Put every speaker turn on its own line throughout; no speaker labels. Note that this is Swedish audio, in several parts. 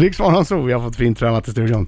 Riksmorgon så vi har fått fint trämat i studion.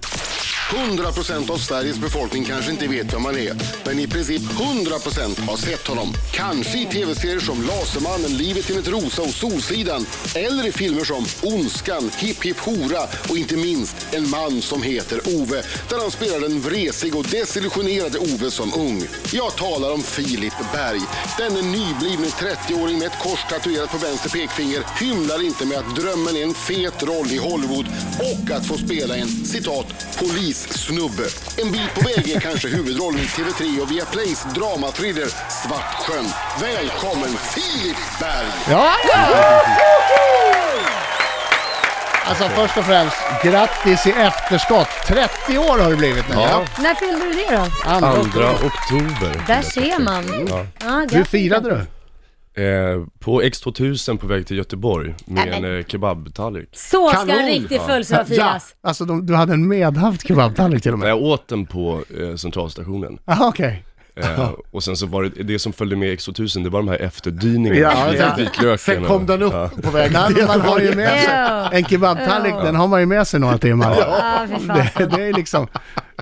100% av Sveriges befolkning kanske inte vet vem han är, men i princip 100% har sett honom. Kanske i tv-serier som Lasermannen, Livet enligt Rosa och Solsidan. Eller i filmer som Ondskan, Hipp Hipp Hora och inte minst En man som heter Ove. Där han spelar den vresig och desillusionerade Ove som ung. Jag talar om Filip Berg. Denne nyblivne 30-åring med ett kors tatuerat på vänster pekfinger hymlar inte med att drömmen är en fet roll i Hollywood och att få spela en citat polissnubbe. En bit på väg är kanske huvudrollen i TV3 och Viaplays dramathriller Svartsjön. Välkommen Filip Berg!
Ja! Alltså först och främst, grattis i efterskott. 30 år har det blivit nu.
Ja.
När fyllde du det då?
Andra.
Andra oktober.
Där ser man.
Mm. Ja.
Ja,
Hur
grattis.
firade du?
Eh, på X2000 på väg till Göteborg med
Nej, men-
en eh, kebabtallrik.
Så ska
Kanon.
en riktig födelsedag firas.
Ja, alltså de, du hade en medhavd kebabtallrik till och
Men
med.
jag åt den på eh, centralstationen.
Jaha, okej.
Eh, och sen så var det, det som följde med X2000, det var de här efterdyningarna.
Ja,
Lite
ja.
vitlöken
Sen
och-
kom den upp
Ja.
på vägen
Nej, men Man har ju med sig,
Ja.
en kebabtallrik, den har man ju med sig några timmar.
Ja, fy fan.
Det, det är liksom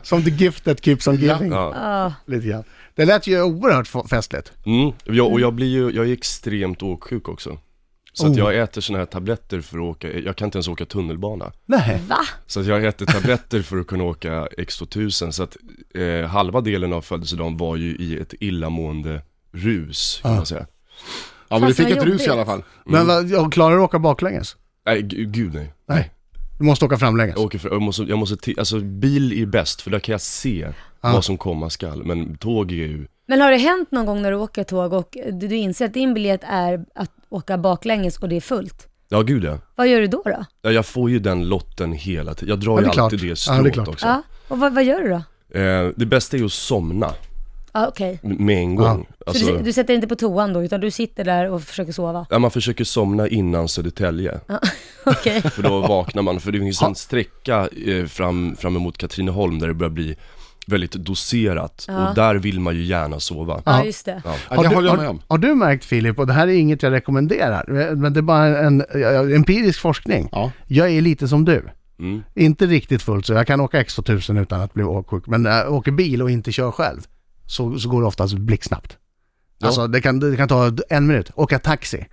som the gift that keeps on giving.
Ja.
Lite grann. Det lät ju oerhört f- festligt.
Mm. Jag, och jag blir ju, jag är extremt åksjuk också. Så att
Oh.
jag äter såna här tabletter för att åka, jag kan inte ens åka tunnelbana.
Nej.
Va?
Så att jag äter tabletter för att kunna åka X2000. Så att eh, halva delen av födelsedagen var ju i ett illamående rus, kan
Ah.
man säga.
Ja men du
Fast
fick
vad
ett rus i
jobbigt.
alla fall.
Men vad, jag klarar du att åka baklänges?
Nej, g- gud nej.
Nej. Du måste åka framlänges.
Jag åker för, jag måste, jag måste ti- alltså bil är bäst för där kan jag se
Ah.
vad som komma skall. Men tåg är ju,
Men har det hänt någon gång när du åker tåg och du du inser att din biljett är att åka baklänges och det är fullt?
ja gud ja.
Vad gör du då? då?
Ja, Jag får ju den lotten hela tiden. Jag
Ja,
drar
det
ju
är klart.
alltid
Ja, det är
det strået
klart.
också.
Ja, och vad, vad gör du då?
Eh, det bästa är ju att somna
Ja, okej.
med en
Ah.
gång.
Så
Alltså,
du, du sätter inte på toan då, utan du sitter där och försöker sova?
ja, man försöker somna innan Södertälje.
Okej.
För då vaknar man, för det finns en sträcka eh, fram, fram emot Katrineholm där det börjar bli väldigt doserat och där vill man ju gärna sova.
Ja, just det.
Ja, det
du,
håller jag med
har,
om.
har du märkt Filip, och det här är inget jag rekommenderar, men det är bara en, en empirisk forskning.
Ja.
Jag är lite som du. Inte riktigt fullt så, jag kan åka X2000 utan att bli åksjuk, men när jag åker bil och inte kör själv så, så går det oftast blixtsnabbt. Alltså det kan, det kan ta en minut, åka taxi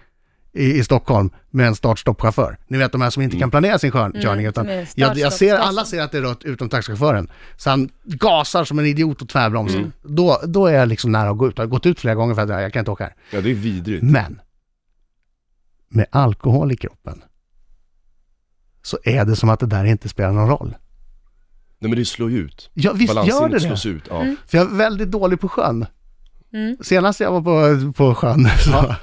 i, i Stockholm med en start-stopp-chaufför. Ni vet de här som inte kan planera sin skör- körning utan
med
jag, jag ser,
start-stopp-taxi.
alla ser att det är rött utom taxichauffören. Så han gasar som en idiot och tvärbromsar. Då, då är jag liksom nära att gå ut. Jag har gått ut flera gånger för att jag jag kan inte åka här.
Ja, det är vidrigt.
Men med alkohol i kroppen så är det som att det där inte spelar någon roll.
Nej men det slår ju ut.
Ja, visst gör det Mm.
Balansinnet
det?
slås ut. Ja.
För jag är väldigt dålig på sjön.
Mm.
Senast jag var på, på sjön så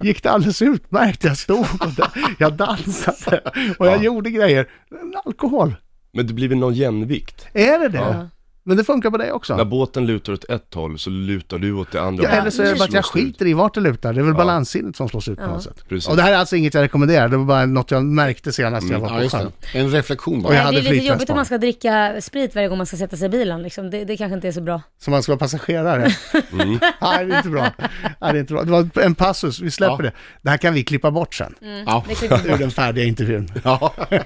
gick det alldeles utmärkt. Jag stod och da- jag dansade och jag
Ja.
gjorde grejer. Men Alkohol,
Men det blir väl någon jämvikt?
är det det?
Ja.
Men det funkar på dig
När
också?
båten lutar åt ett håll så lutar du åt det andra
Ja,
hållet.
eller så är det bara att jag
slås ut.
skiter i vart det lutar. Det är väl
Ja.
balanssinnet som slås ut på
Ja.
något sätt.
Precis. Mm.
Och det här är alltså inget jag rekommenderar, det var bara något jag märkte senast jag var
Ja
på
just
sjön.
det. En reflektion
Och
bara.
jag
Nej,
hade
det är lite
flytväst
jobbigt
på.
om man ska dricka sprit varje gång man ska sätta sig i bilen. Liksom. Det, det kanske inte är så bra.
Som man ska vara passagerare.
Mm.
Nej, det är inte bra. Nej, det är inte bra. Det var en passus, vi släpper
Ja.
det. Det här kan vi klippa bort sen,
Ja.
Det kan inte
ur
vara.
den färdiga intervjun.
Ja.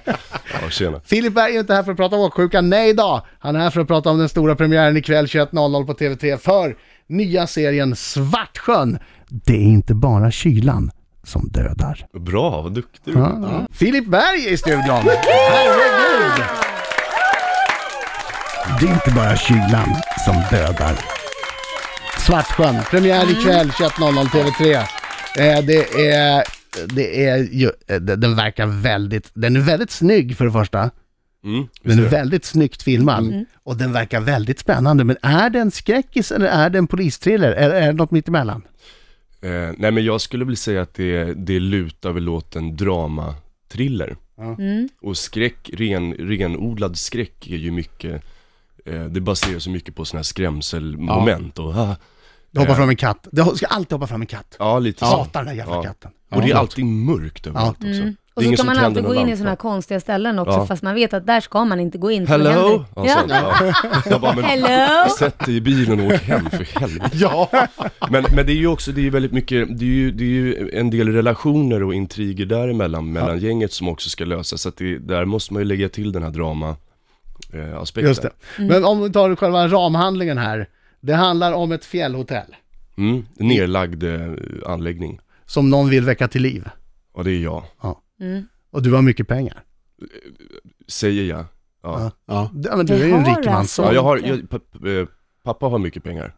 Ja, tjena.
Filip Berg är ju inte här för att prata om åksjuka, nej då. Han är här för att prata om den stora premiären ikväll 21.00 på TV3 för nya serien Svartsjön. Det är inte bara kylan som dödar.
Bra, vad duktig du
Ja.
är.
Mm. Filip Berg är i studion! Herregud! Det är inte bara kylan som dödar. Svartsjön, premiär ikväll 21.00 TV3. Eh, det är, det är ju, eh, den den verkar väldigt, den är väldigt snygg för det första. Den
Mm,
är Mm.
visst är det.
väldigt snyggt filmad och den verkar väldigt spännande. Men är det en skräckis eller är det en polisthriller? Eller är det något mittemellan?
Eh, nej men jag skulle väl säga att det, det lutar väl åt en drama-thriller.
Mm.
Och skräck, ren, renodlad skräck är ju mycket, eh, det baseras så mycket på sådana här skrämselmoment och ah,
Det hoppar fram en katt. Det ska alltid hoppa fram en katt.
Ja, lite så.
Hatar den där jävla
Ja.
katten.
Och det är alltid mörkt överallt också.
Mm. Och
Det är
så kan
ingen som
man
tänder
alltid
någon
gå in i
lampa.
sådana här konstiga ställen också,
Ja.
fast man vet att där ska man inte gå in. för då
Hello!
händer-
Ja, sånt, ja. Jag bara, men
Hello?
sätt dig i bilen och åk hem för helvete.
Ja.
Men, men det är ju också, det är ju väldigt mycket, det är ju, det är ju en del relationer och intriger däremellan, mellan gänget som också ska lösas. Så att det, där måste man ju lägga till den här drama eh, aspekten.
Just det. Men om vi tar själva ramhandlingen här. Det handlar om ett fjällhotell
Mm, nerlagd eh, anläggning.
som någon vill väcka till liv.
Och det är jag,
Och du har mycket pengar.
säger jag. Ja,
Ja.
Du, ja, men du
Det
är ju en
har alltså.
rik mansson.
ja jag har,
inte.
jag, pa- eh, pappa har mycket pengar.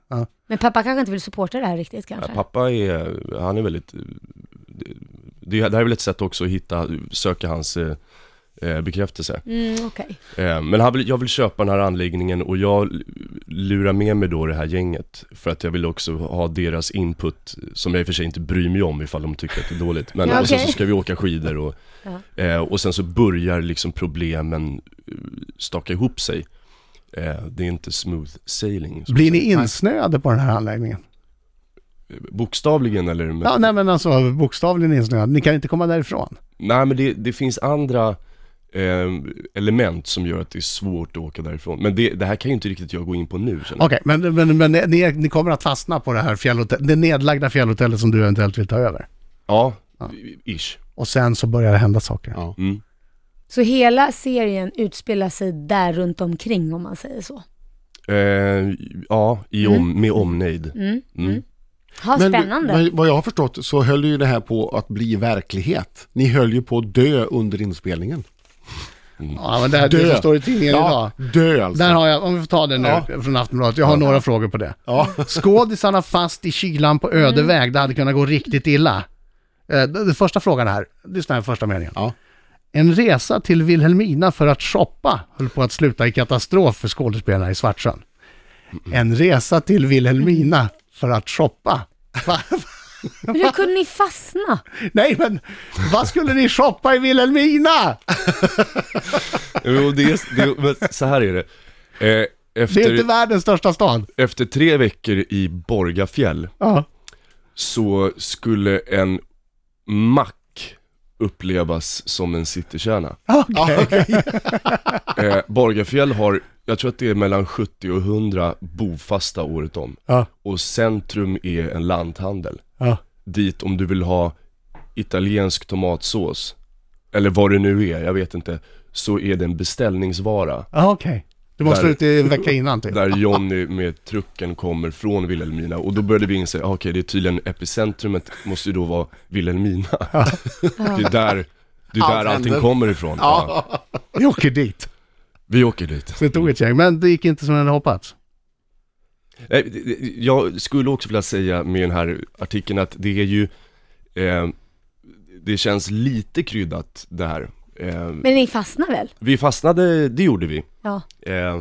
Men pappa kanske inte vill supporta det här riktigt
Ja,
kanske.
pappa är, han är väldigt, eh, det, det här är väl ett sätt också att hitta, söka hans eh, eh, bekräftelse.
Mm, okej.
Eh, Men han vill, jag vill köpa den här anläggningen och jag l- lurar med mig då det här gänget. För att jag vill också ha deras input, som jag i och för sig inte bryr mig om ifall de tycker att det är dåligt. Men
Ja,
och sen
okej.
så ska vi åka skidor och, eh, och sen så börjar liksom problemen eh, staka ihop sig. Eh, det är inte smooth sailing. som
Blir
man
ni insnöade på den här anläggningen?
säger. Bokstavligen eller? Med,
Ja, nej men alltså bokstavligen insnöade. Ni kan inte komma därifrån.
Nej men det, det finns andra eh, element som gör att det är svårt att åka därifrån. Men det, det här kan ju inte riktigt jag gå in på nu känner jag.
Okej, men, men, men ni, ni kommer att fastna på det här fjällhotellet, det nedlagda fjällhotellet som du eventuellt vill ta över.
Ja, ish.
Och sen så börjar det hända saker.
Ja.
Så hela serien utspelar sig där runt omkring om man säger så.
Eh, ja, i om, med omnejd. Mm.
Ha, spännande.
Men vad jag har förstått så höll ju det här på att bli verklighet. Ni höll ju på att dö under inspelningen.
Ja, men det här det
Dö.
som står i tidningen idag.
dö alltså.
Där har jag, om vi får ta den nu
Ja.
från Aftonbladet, jag har några frågor på det.
Ja.
Skådisarna fast i kylan på öde väg, det hade kunnat gå riktigt illa. Eh, Den den första frågan här, lyssna här på första meningen.
Ja.
En resa till Vilhelmina för att shoppa höll på att sluta i katastrof för skådespelarna i Svartsjön.
Mm.
En resa till Vilhelmina för att shoppa. Va?
Men hur kunde ni fastna?
Nej men, vad skulle ni shoppa i Vilhelmina?
Jo, det är, det, men så här är det. Eh,
Det är
efter,
inte världens största stad.
efter tre veckor i Borgafjäll
Ja.
så skulle en mack upplevas som en citykärna.
Okej.
Eh, Borgafjäll har, jag tror att det är mellan 70 och 100 bofasta året om.
Ja.
Och centrum är en lanthandel.
Ja.
dit om du vill ha italiensk tomatsås, eller vad det nu är, jag vet inte, så är det en beställningsvara.
Ja, okej. Du måste
Där-
ut i en vecka innan typ.
Där Johnny med trucken kommer från Vilhelmina och då började vi inse, ah, okej det är tydligen epicentrumet måste ju då vara Vilhelmina. Det är där, det är där
Allt
allting
händer.
kommer ifrån. Ja.
Vi åker dit.
Vi åker dit.
Så det tog ett gäng, men det gick inte som jag hade hoppats.
Nej, det- det- Jag skulle också vilja säga med den här artikeln att det är ju, eh, det känns lite kryddat det här. Eh,
Men ni fastnar väl?
vi fastnade, det gjorde vi.
Ja.
Eh,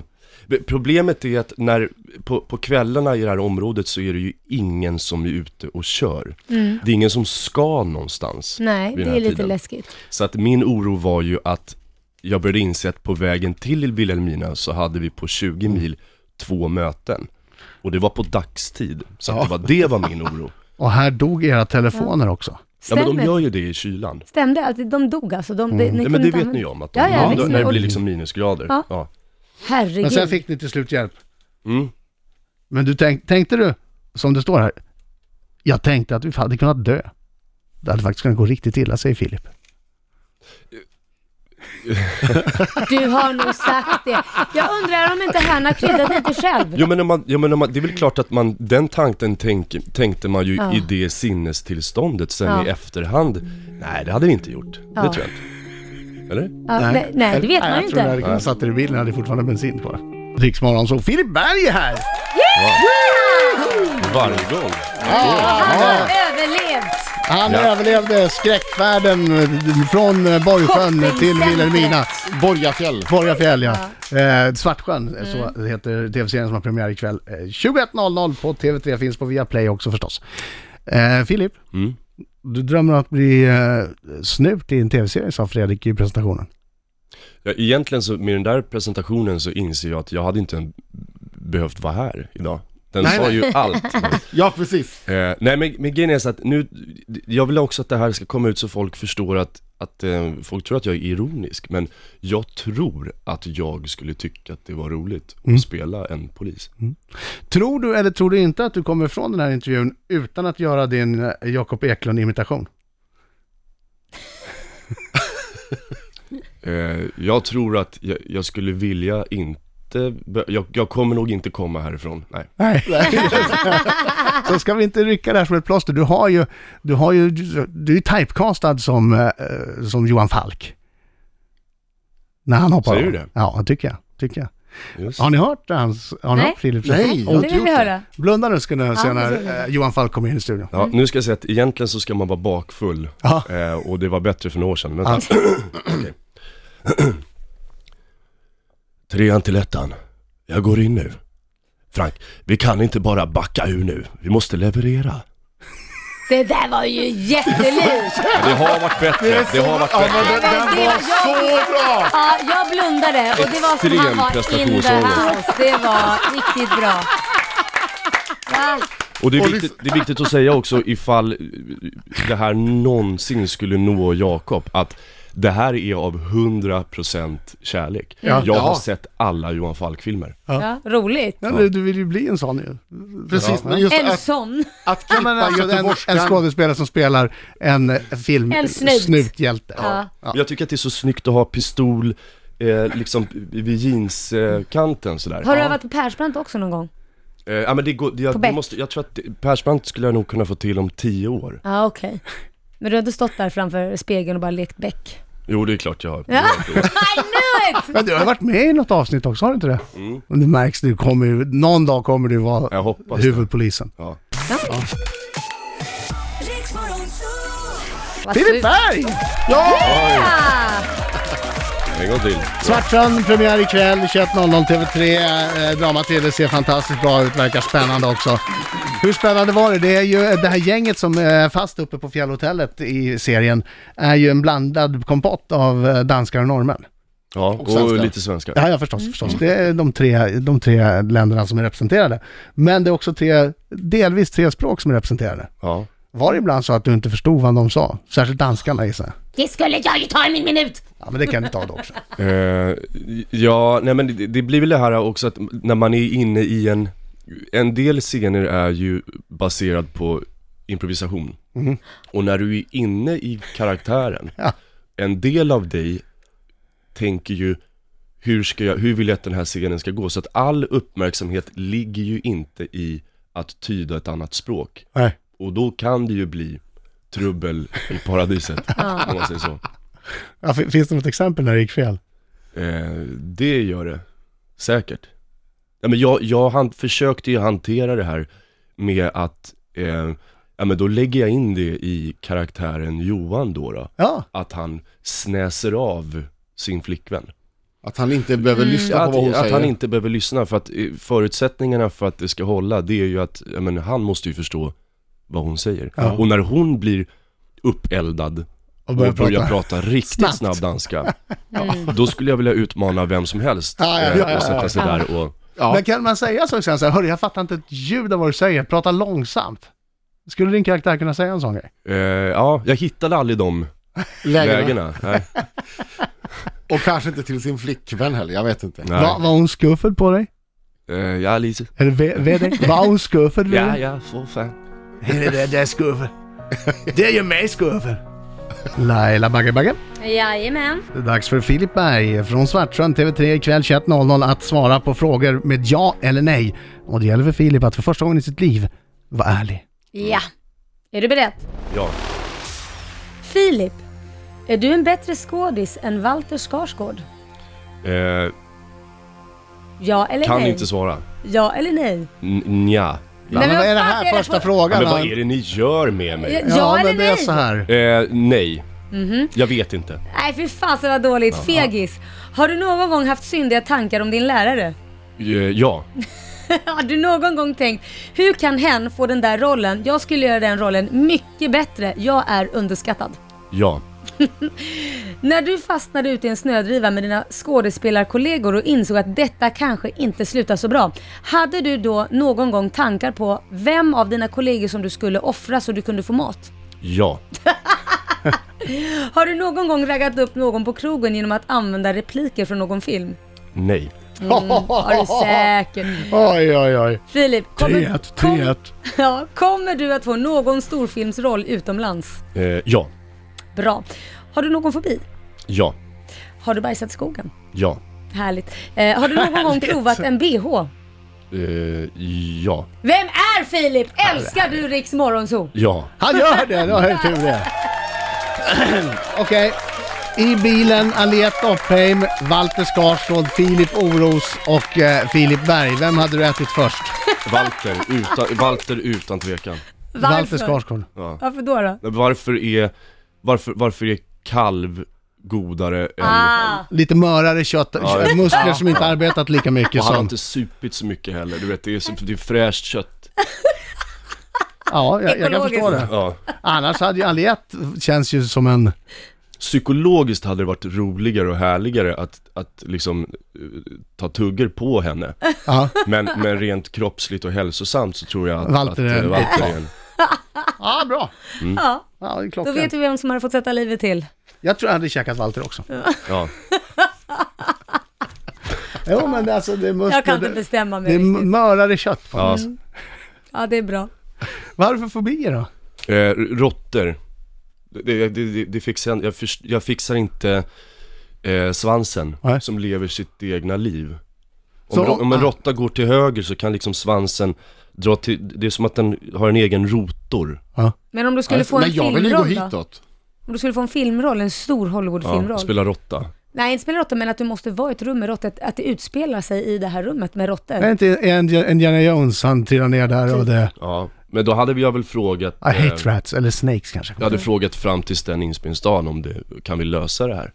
problemet är att när, på, på kvällarna i det här området så är det ju ingen som är ute och kör. Det är ingen som ska någonstans.
Mm. Nej,
vid
det
den här
är lite
tiden.
läskigt.
Så att min oro var ju att jag började inse att på vägen till Vilhelmina så hade vi på 20
Mm.
mil två möten. Och det var på dagstid, så att det, var, det var min oro.
Och här dog era telefoner också.
Ja
Stämmer.
men de gör ju det i kylan.
Stämde att de dog alltså? De, det, ni
Nej,
kunde
men det
inte
vet
använda-
ni ju om att de,
Ja, ja,
då-
visst.
när det blir liksom minusgrader.
Ja.
Ja.
Herregud.
Men sen fick ni till slut hjälp.
Mm.
Men du tänk, tänkte du, som det står här, jag tänkte att vi hade kunnat dö. Det hade faktiskt kunnat gå riktigt illa, säger Filip.
Du har nog sagt det. Jag undrar om inte han har kryddat lite själv.
Jo men, när man, ja, men när man, det är väl klart att man, den tanken tänk, tänkte man ju
Ja.
i det sinnestillståndet sen
Ja.
i efterhand. Nej det hade vi inte gjort, det
Ja.
tror jag inte. Eller?
Ja, nej, nej, det vet man
jag
ju
tror
inte.
när jag hade satt er i bilen hade jag fortfarande bensin kvar. Riksmorgon så Filip Berg är här!
Varje gång.
Han har överlevt.
Han
Ja.
överlevde skräckfärden eh, från eh, Borgsjön till
Shoppingcentret.
Vilhelmina.
Borgafjäll.
Borgafjäll ja. Eh, Svartsjön, eh, så heter tv-serien som har premiär ikväll. Eh, 21.00 på TV3, finns på Viaplay också förstås. Eh, Filip,
Mm.
du drömmer om att bli eh, snut i en tv-serie sa Fredrik i presentationen.
Ja, egentligen så med den där presentationen så inser jag att jag hade inte behövt vara här idag. Den
Nej,
sa
nej.
ju allt.
Ja, precis.
Eh, nej men, men grejen är så att nu, jag vill också att det här ska komma ut så folk förstår att, att eh, folk tror att jag är ironisk, men jag tror att jag skulle tycka att det var roligt
Mm.
att spela en polis.
Tror du eller tror du inte att du kommer ifrån den här intervjun utan att göra din eh, Jakob Eklund-imitation?
Eh, jag tror att jag, jag skulle vilja inte, be- jag, jag kommer nog inte komma härifrån, nej.
Nej. Så ska vi inte rycka det här som ett plåster. Du har ju, du har ju, du är ju typecastad som, eh, som Johan Falk. När han hoppar
Säger
av.
du det?
Ja, tycker jag. Tycker jag.
Just.
Har ni hört hans, har ni
Nej.
hört Philips?
Nej, jag har
Det
inte
vill
gjort
vi
det.
höra.
Blunda nu ska ni se
Ja, det
när
vill
eh, Johan Falk kommer in i studion.
Ja, nu ska jag säga att egentligen så ska man vara bakfull
Ja.
eh, och det var bättre för några år sedan.
Ah.
Vänta.
Ja.
Okej. Trean till ettan. Jag går in nu. Frank, vi kan inte bara backa ur nu. Vi måste leverera.
Det där var ju jättelikt!
Det har varit bättre. Det har varit
Ja,
bättre.
men den, den var så bra!
Ja, jag blundade och det var som han
Extrem
var in the
prestationsångest.
house. Det var riktigt bra. Va?
Och det är viktigt, det är viktigt att säga också ifall eh, det här någonsin skulle nå Jakob att det här är av 100% kärlek. Jag har
Ja.
sett alla Johan Falk-filmer.
Ja, roligt.
Ja, du, du vill ju bli en sån ju.
Precis, men
Alltså,
just
En
att,
sån.
att
Ja, men
klippa
alltså, en,
göteborgskan.
en skådespelare som spelar en eh, film,
En snut.
snuthjälte.
Ja.
Men Jag tycker att det är så snyggt att ha pistol eh, liksom vid jeanskanten eh, kanten sådär.
Har du övat på Persbrandt också någon gång?
Eh, ja men det går, det-
På
jag, det
Beck?
måste, jag tror att det- Persbrandt skulle jag nog kunna få till om tio år.
Ja, okej. Men du har inte stått där framför spegeln och bara lekt bäck?
Jo det är klart jag har.
Ja. I knew it!
Men du har ju varit med i något avsnitt också, har du inte det? Mm. Det märks, du kommer, ju- någon dag kommer du vara
Jag hoppas det.
huvudpolisen.
Ja.
Vad
Filip
surt.
Berg! Ja!
Ah,
En gång till.
Svartsjön, premiär ikväll 21.00 TV3. Eh, Drama-TV ser fantastiskt bra ut, verkar spännande också. Hur spännande var det? Det är ju det här gänget som eh, är fast uppe på fjällhotellet i serien är ju en blandad kompott av eh, danskar och norrmän.
Ja, och,
svenska.
lite svenska.
Ja, ja förstås, förstås. Det är de tre, de tre länderna som är representerade. Men det är också tre, delvis tre språk som är representerade.
Ja.
Var det ibland så att du inte förstod vad de sa? Särskilt danskarna gissar jag.
det skulle jag ju ta i min minut!
Ja, men det kan du ta då också.
Eh, ja, nej men det, det blir väl det här också att när man är inne i en... En del scener är ju baserad på improvisation. Och när du är inne i karaktären,
Ja.
en del av dig tänker ju hur, ska jag, hur vill jag att den här scenen ska gå? Så att all uppmärksamhet ligger ju inte i att tyda ett annat språk.
Nej.
Och då kan det ju bli trubbel i paradiset, om man säger så.
Ja, fin- finns det något exempel när det gick fel?
Eh, det gör det. Säkert. Ja, men jag jag han, försökte ju hantera det här med att, eh, ja men då lägger jag in det i karaktären Johan då. då
Ja,
att han snäser av sin flickvän.
Att han inte behöver lyssna på vad hon
Att, att
säger.
han inte behöver lyssna för att eh, förutsättningarna för att det ska hålla det är ju att, ja, men han måste ju förstå vad hon säger.
Ja.
Och när hon blir uppeldad
och
och
börja
börjar
prata.
prata, riktigt
Snabbt.
snabb danska,
Mm.
då skulle jag vilja utmana vem som helst
Ja, ja,
eh,
ja, ja,
och sätta
ja.
sig där och...
Ja.
Men kan man säga så sen så här, hörru jag fattar inte ett ljud av vad du säger, prata långsamt. Skulle din karaktär kunna säga en sån grej?
Eh, ja, jag hittade aldrig de
Lägena.
vägarna. Nej,
Och kanske inte till sin flickvän heller, jag vet inte.
Va,
nej.
var hon skuffad på dig?
Eh, ja, Lise.
Eller ve, ve dig? Var hon skuffad vid
Ja,
dig?
ja, för fan.
Det där, det är skuffad. Det är ju mig skuffad. Laila Bagge Bagge.
Jajamän.
Det är dags för Filip Berg från Svartsjön TV3 ikväll 21.00 att svara på frågor med ja eller nej. Och det gäller för Filip att för första gången i sitt liv vara ärlig.
Ja. Är du beredd?
Ja.
Filip, är du en bättre skådis än Walter Skarsgård?
Eh,
Ja eller
kan
nej?
inte svara.
Ja eller nej?
N- nja.
Nej, men
vad
vad är det
fan
här
är det
första
för-
Ja,
frågan?
men vad
va?
är det ni gör med mig?
Ja,
Ja,
eller
men det
nej?
är så här.
Eh, nej.
Mhm.
Jag vet inte.
Nej fy fasen vad dåligt. Fegis. Har du någon gång haft syndiga tankar om din lärare?
Eh, ja.
Har du någon gång tänkt, hur kan hen få den där rollen? Jag skulle göra den rollen mycket bättre. Jag är underskattad.
Ja.
När du fastnade ute i en snödriva med dina skådespelarkollegor och insåg att detta kanske inte slutar så bra. Hade du då någon gång tankar på vem av dina kollegor som du skulle offra så du kunde få mat?
Ja.
Har du någon gång raggat upp någon på krogen genom att använda repliker från någon film?
Nej.
Har du säkert.
Oj, oj, oj.
Filip, kommer,
3-1, 3-1.
ja, kommer du att få någon storfilmsroll utomlands?
Eh, ja.
Bra. Har du någon fobi?
Ja.
Har du bajsat i skogen?
Ja.
Härligt. Eh, har du någon gång provat en bh?
Eh, ja.
Vem är Filip? Älskar du Riks Morgonzoo?
Ja.
Han gör det, det var ju tur det. Okej. I bilen Aliette Oppheim, Walter Skarsgård, Filip Oros och eh, Filip Berg. Vem hade du ätit först?
Walter utan, Walter utan tvekan.
Walter
Varför?
Skarsgård.
Varför då? då?
Men Varför är, varför, varför är kalv godare än...
Ah,
Lite mörare kött,
Ja, ja.
muskler som inte arbetat lika mycket
Och han har
som...
inte supit så mycket heller, du vet det är, så, det är fräscht kött.
Ja, jag, jag kan förstå det.
Ja.
Annars hade ju Aliette känns ju som en...
Psykologiskt hade det varit roligare och härligare att, att liksom eh, ta tugger på henne.
Ja,
Men, men rent kroppsligt och hälsosamt så tror jag att
Walter är
att,
en-
eh, Walter är en...
ja bra.
ja.
Ja, det är
Då vet
klockrent.
vi vem som hade fått sätta livet till.
Jag tror jag hade käkat Walter också.
Ja.
Jo, men det är alltså det är muskler...
Jag kan inte bestämma
Det
mig
är
riktigt.
mörare kött på
ja.
Ja, det är bra.
Varför fobier då?
Eh, råttor. Det, det, det, det fixar, jag- jag, förs- jag fixar inte eh, svansen
Nej.
som lever sitt egna liv. Om,
Så-
rå- om en
ah.
råtta går till höger så kan liksom svansen dra till, det är som att den har en egen rotor.
Men om du skulle få en
Men jag vill ju gå
filmroll då?
hitåt.
Om du skulle få en filmroll, en stor
Ja,
Hollywood-filmroll?
spela råtta.
Nej, inte spela råttor, men att du måste vara i ett rum med råttor. att- Att det utspelar sig i det här rummet med råttor.
Är inte Indi- Indiana Jones, han trillar ner där
Typ.
och det...
Ja, men då hade jag väl frågat...
I
eh,
hate rats, eller snakes kanske.
jag hade frågat fram tills den inspelningsdagen om det, kan vi lösa det här?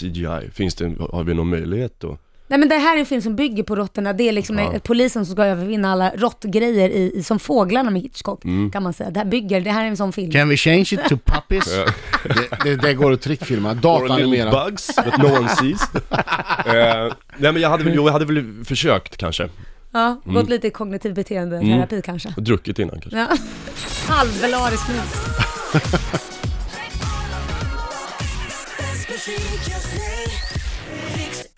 CGI, finns det, har vi någon möjlighet då?
Nej men det här är en film som bygger på råttorna. Det är liksom eh, polisen som ska övervinna alla råttgrejer i, i, som fåglarna med Hitchcock kan man säga. Det här bygger, det här är en sån film.
Can we change it to puppies?
Det, det, det går att trickfilma.
Or little
Dataanimera.
bugs that no one sees. Eh, nej men jag hade väl, jo jag hade väl försökt kanske.
Ja, gått lite i kognitiv beteendeterapi kanske.
Och druckit innan kanske.
Ja. Halvvelarisk minut.
Best musik just nu. Riks